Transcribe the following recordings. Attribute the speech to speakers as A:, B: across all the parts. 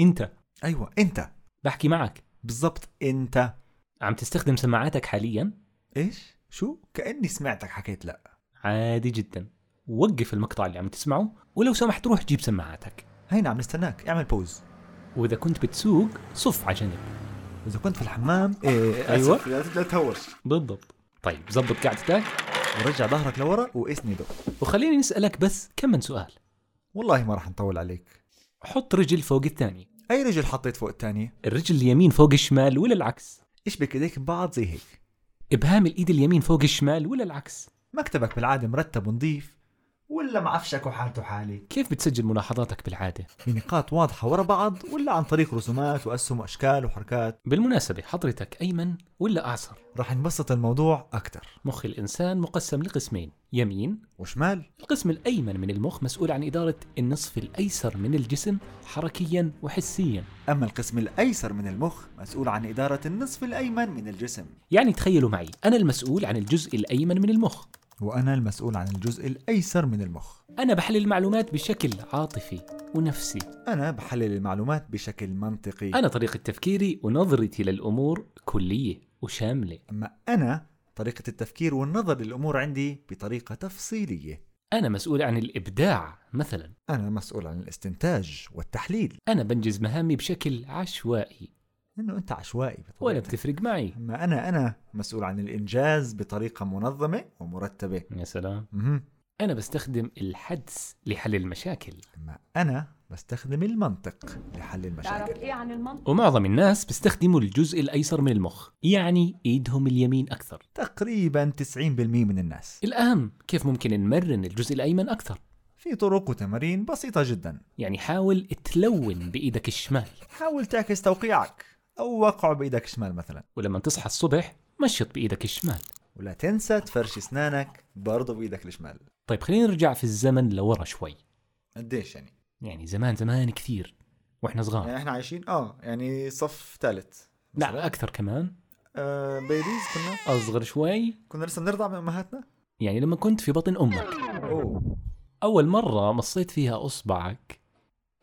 A: انت
B: ايوه انت
A: بحكي معك
B: بالضبط انت
A: عم تستخدم سماعاتك حاليا
B: ايش شو كاني سمعتك حكيت لا
A: عادي جدا وقف المقطع اللي عم تسمعه ولو سمحت روح جيب سماعاتك
B: هينا عم نعم، نستناك اعمل بوز
A: واذا كنت بتسوق صف على جنب
B: اذا كنت في الحمام إيه
A: أيوة.
B: آسف، لا لا تهوش
A: بالضبط طيب زبط قعدتك
B: ورجع ظهرك لورا واسنده
A: وخليني نسالك بس كم من سؤال
B: والله ما راح نطول عليك
A: حط رجل فوق الثانيه
B: اي رجل حطيت فوق الثانيه
A: الرجل اليمين فوق الشمال ولا العكس
B: اشبك ايديك ببعض زي هيك
A: ابهام الايد اليمين فوق الشمال ولا العكس
B: مكتبك بالعاده مرتب ونظيف ولا معفشك وحالته حالي
A: كيف بتسجل ملاحظاتك بالعاده
B: بنقاط واضحه ورا بعض ولا عن طريق رسومات واسهم واشكال وحركات
A: بالمناسبه حضرتك ايمن ولا اعصر
B: راح نبسط الموضوع اكثر
A: مخ الانسان مقسم لقسمين يمين
B: وشمال
A: القسم الايمن من المخ مسؤول عن اداره النصف الايسر من الجسم حركيا وحسيا
B: اما القسم الايسر من المخ مسؤول عن اداره النصف الايمن من الجسم
A: يعني تخيلوا معي انا المسؤول عن الجزء الايمن من المخ
B: وانا المسؤول عن الجزء الايسر من المخ
A: انا بحلل المعلومات بشكل عاطفي ونفسي
B: انا بحلل المعلومات بشكل منطقي
A: أنا طريقة تفكيري ونظرتي للأمور كلية وشاملة
B: أما أنا طريقة التفكير والنظر للأمور عندي بطريقة تفصيلية
A: أنا مسؤول عن الإبداع مثلا
B: أنا مسؤول عن الاستنتاج والتحليل
A: أنا بنجز مهامي بشكل عشوائي
B: إنه أنت عشوائي
A: ولا
B: بطبيعتك
A: بتفرق معي
B: أما أنا أنا مسؤول عن الإنجاز بطريقة منظمة ومرتبة
A: يا سلام
B: مهم.
A: أنا بستخدم الحدس لحل المشاكل
B: أما أنا بستخدم المنطق لحل
C: تعرف
B: المشاكل
C: ايه عن المنطق
A: ومعظم الناس بيستخدموا الجزء الأيسر من المخ يعني إيدهم اليمين أكثر
B: تقريبا 90% من الناس
A: الأهم كيف ممكن نمرن الجزء الأيمن أكثر
B: في طرق وتمارين بسيطة جدا
A: يعني حاول تلون بإيدك الشمال
B: حاول تعكس توقيعك أو وقعه بإيدك الشمال مثلا
A: ولما تصحى الصبح مشط بإيدك الشمال
B: ولا تنسى تفرش أسنانك برضه بإيدك الشمال
A: طيب خلينا نرجع في الزمن لورا شوي
B: قديش يعني؟
A: يعني زمان زمان كثير واحنا صغار
B: يعني احنا عايشين اه يعني صف ثالث
A: لا اكثر كمان
B: آه بيبيز كنا
A: اصغر شوي
B: كنا لسه بنرضع من امهاتنا
A: يعني لما كنت في بطن امك
B: اوه
A: اول مره مصيت فيها اصبعك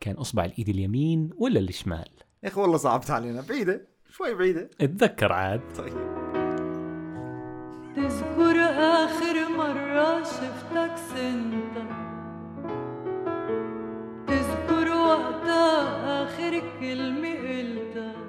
A: كان اصبع الايد اليمين ولا الشمال
B: يا اخي والله صعبت علينا بعيده شوي بعيده
A: اتذكر عاد
B: طيب
D: تذكر آخر مرة شفتك سنتا تذكر وقتها آخر كلمة قلتها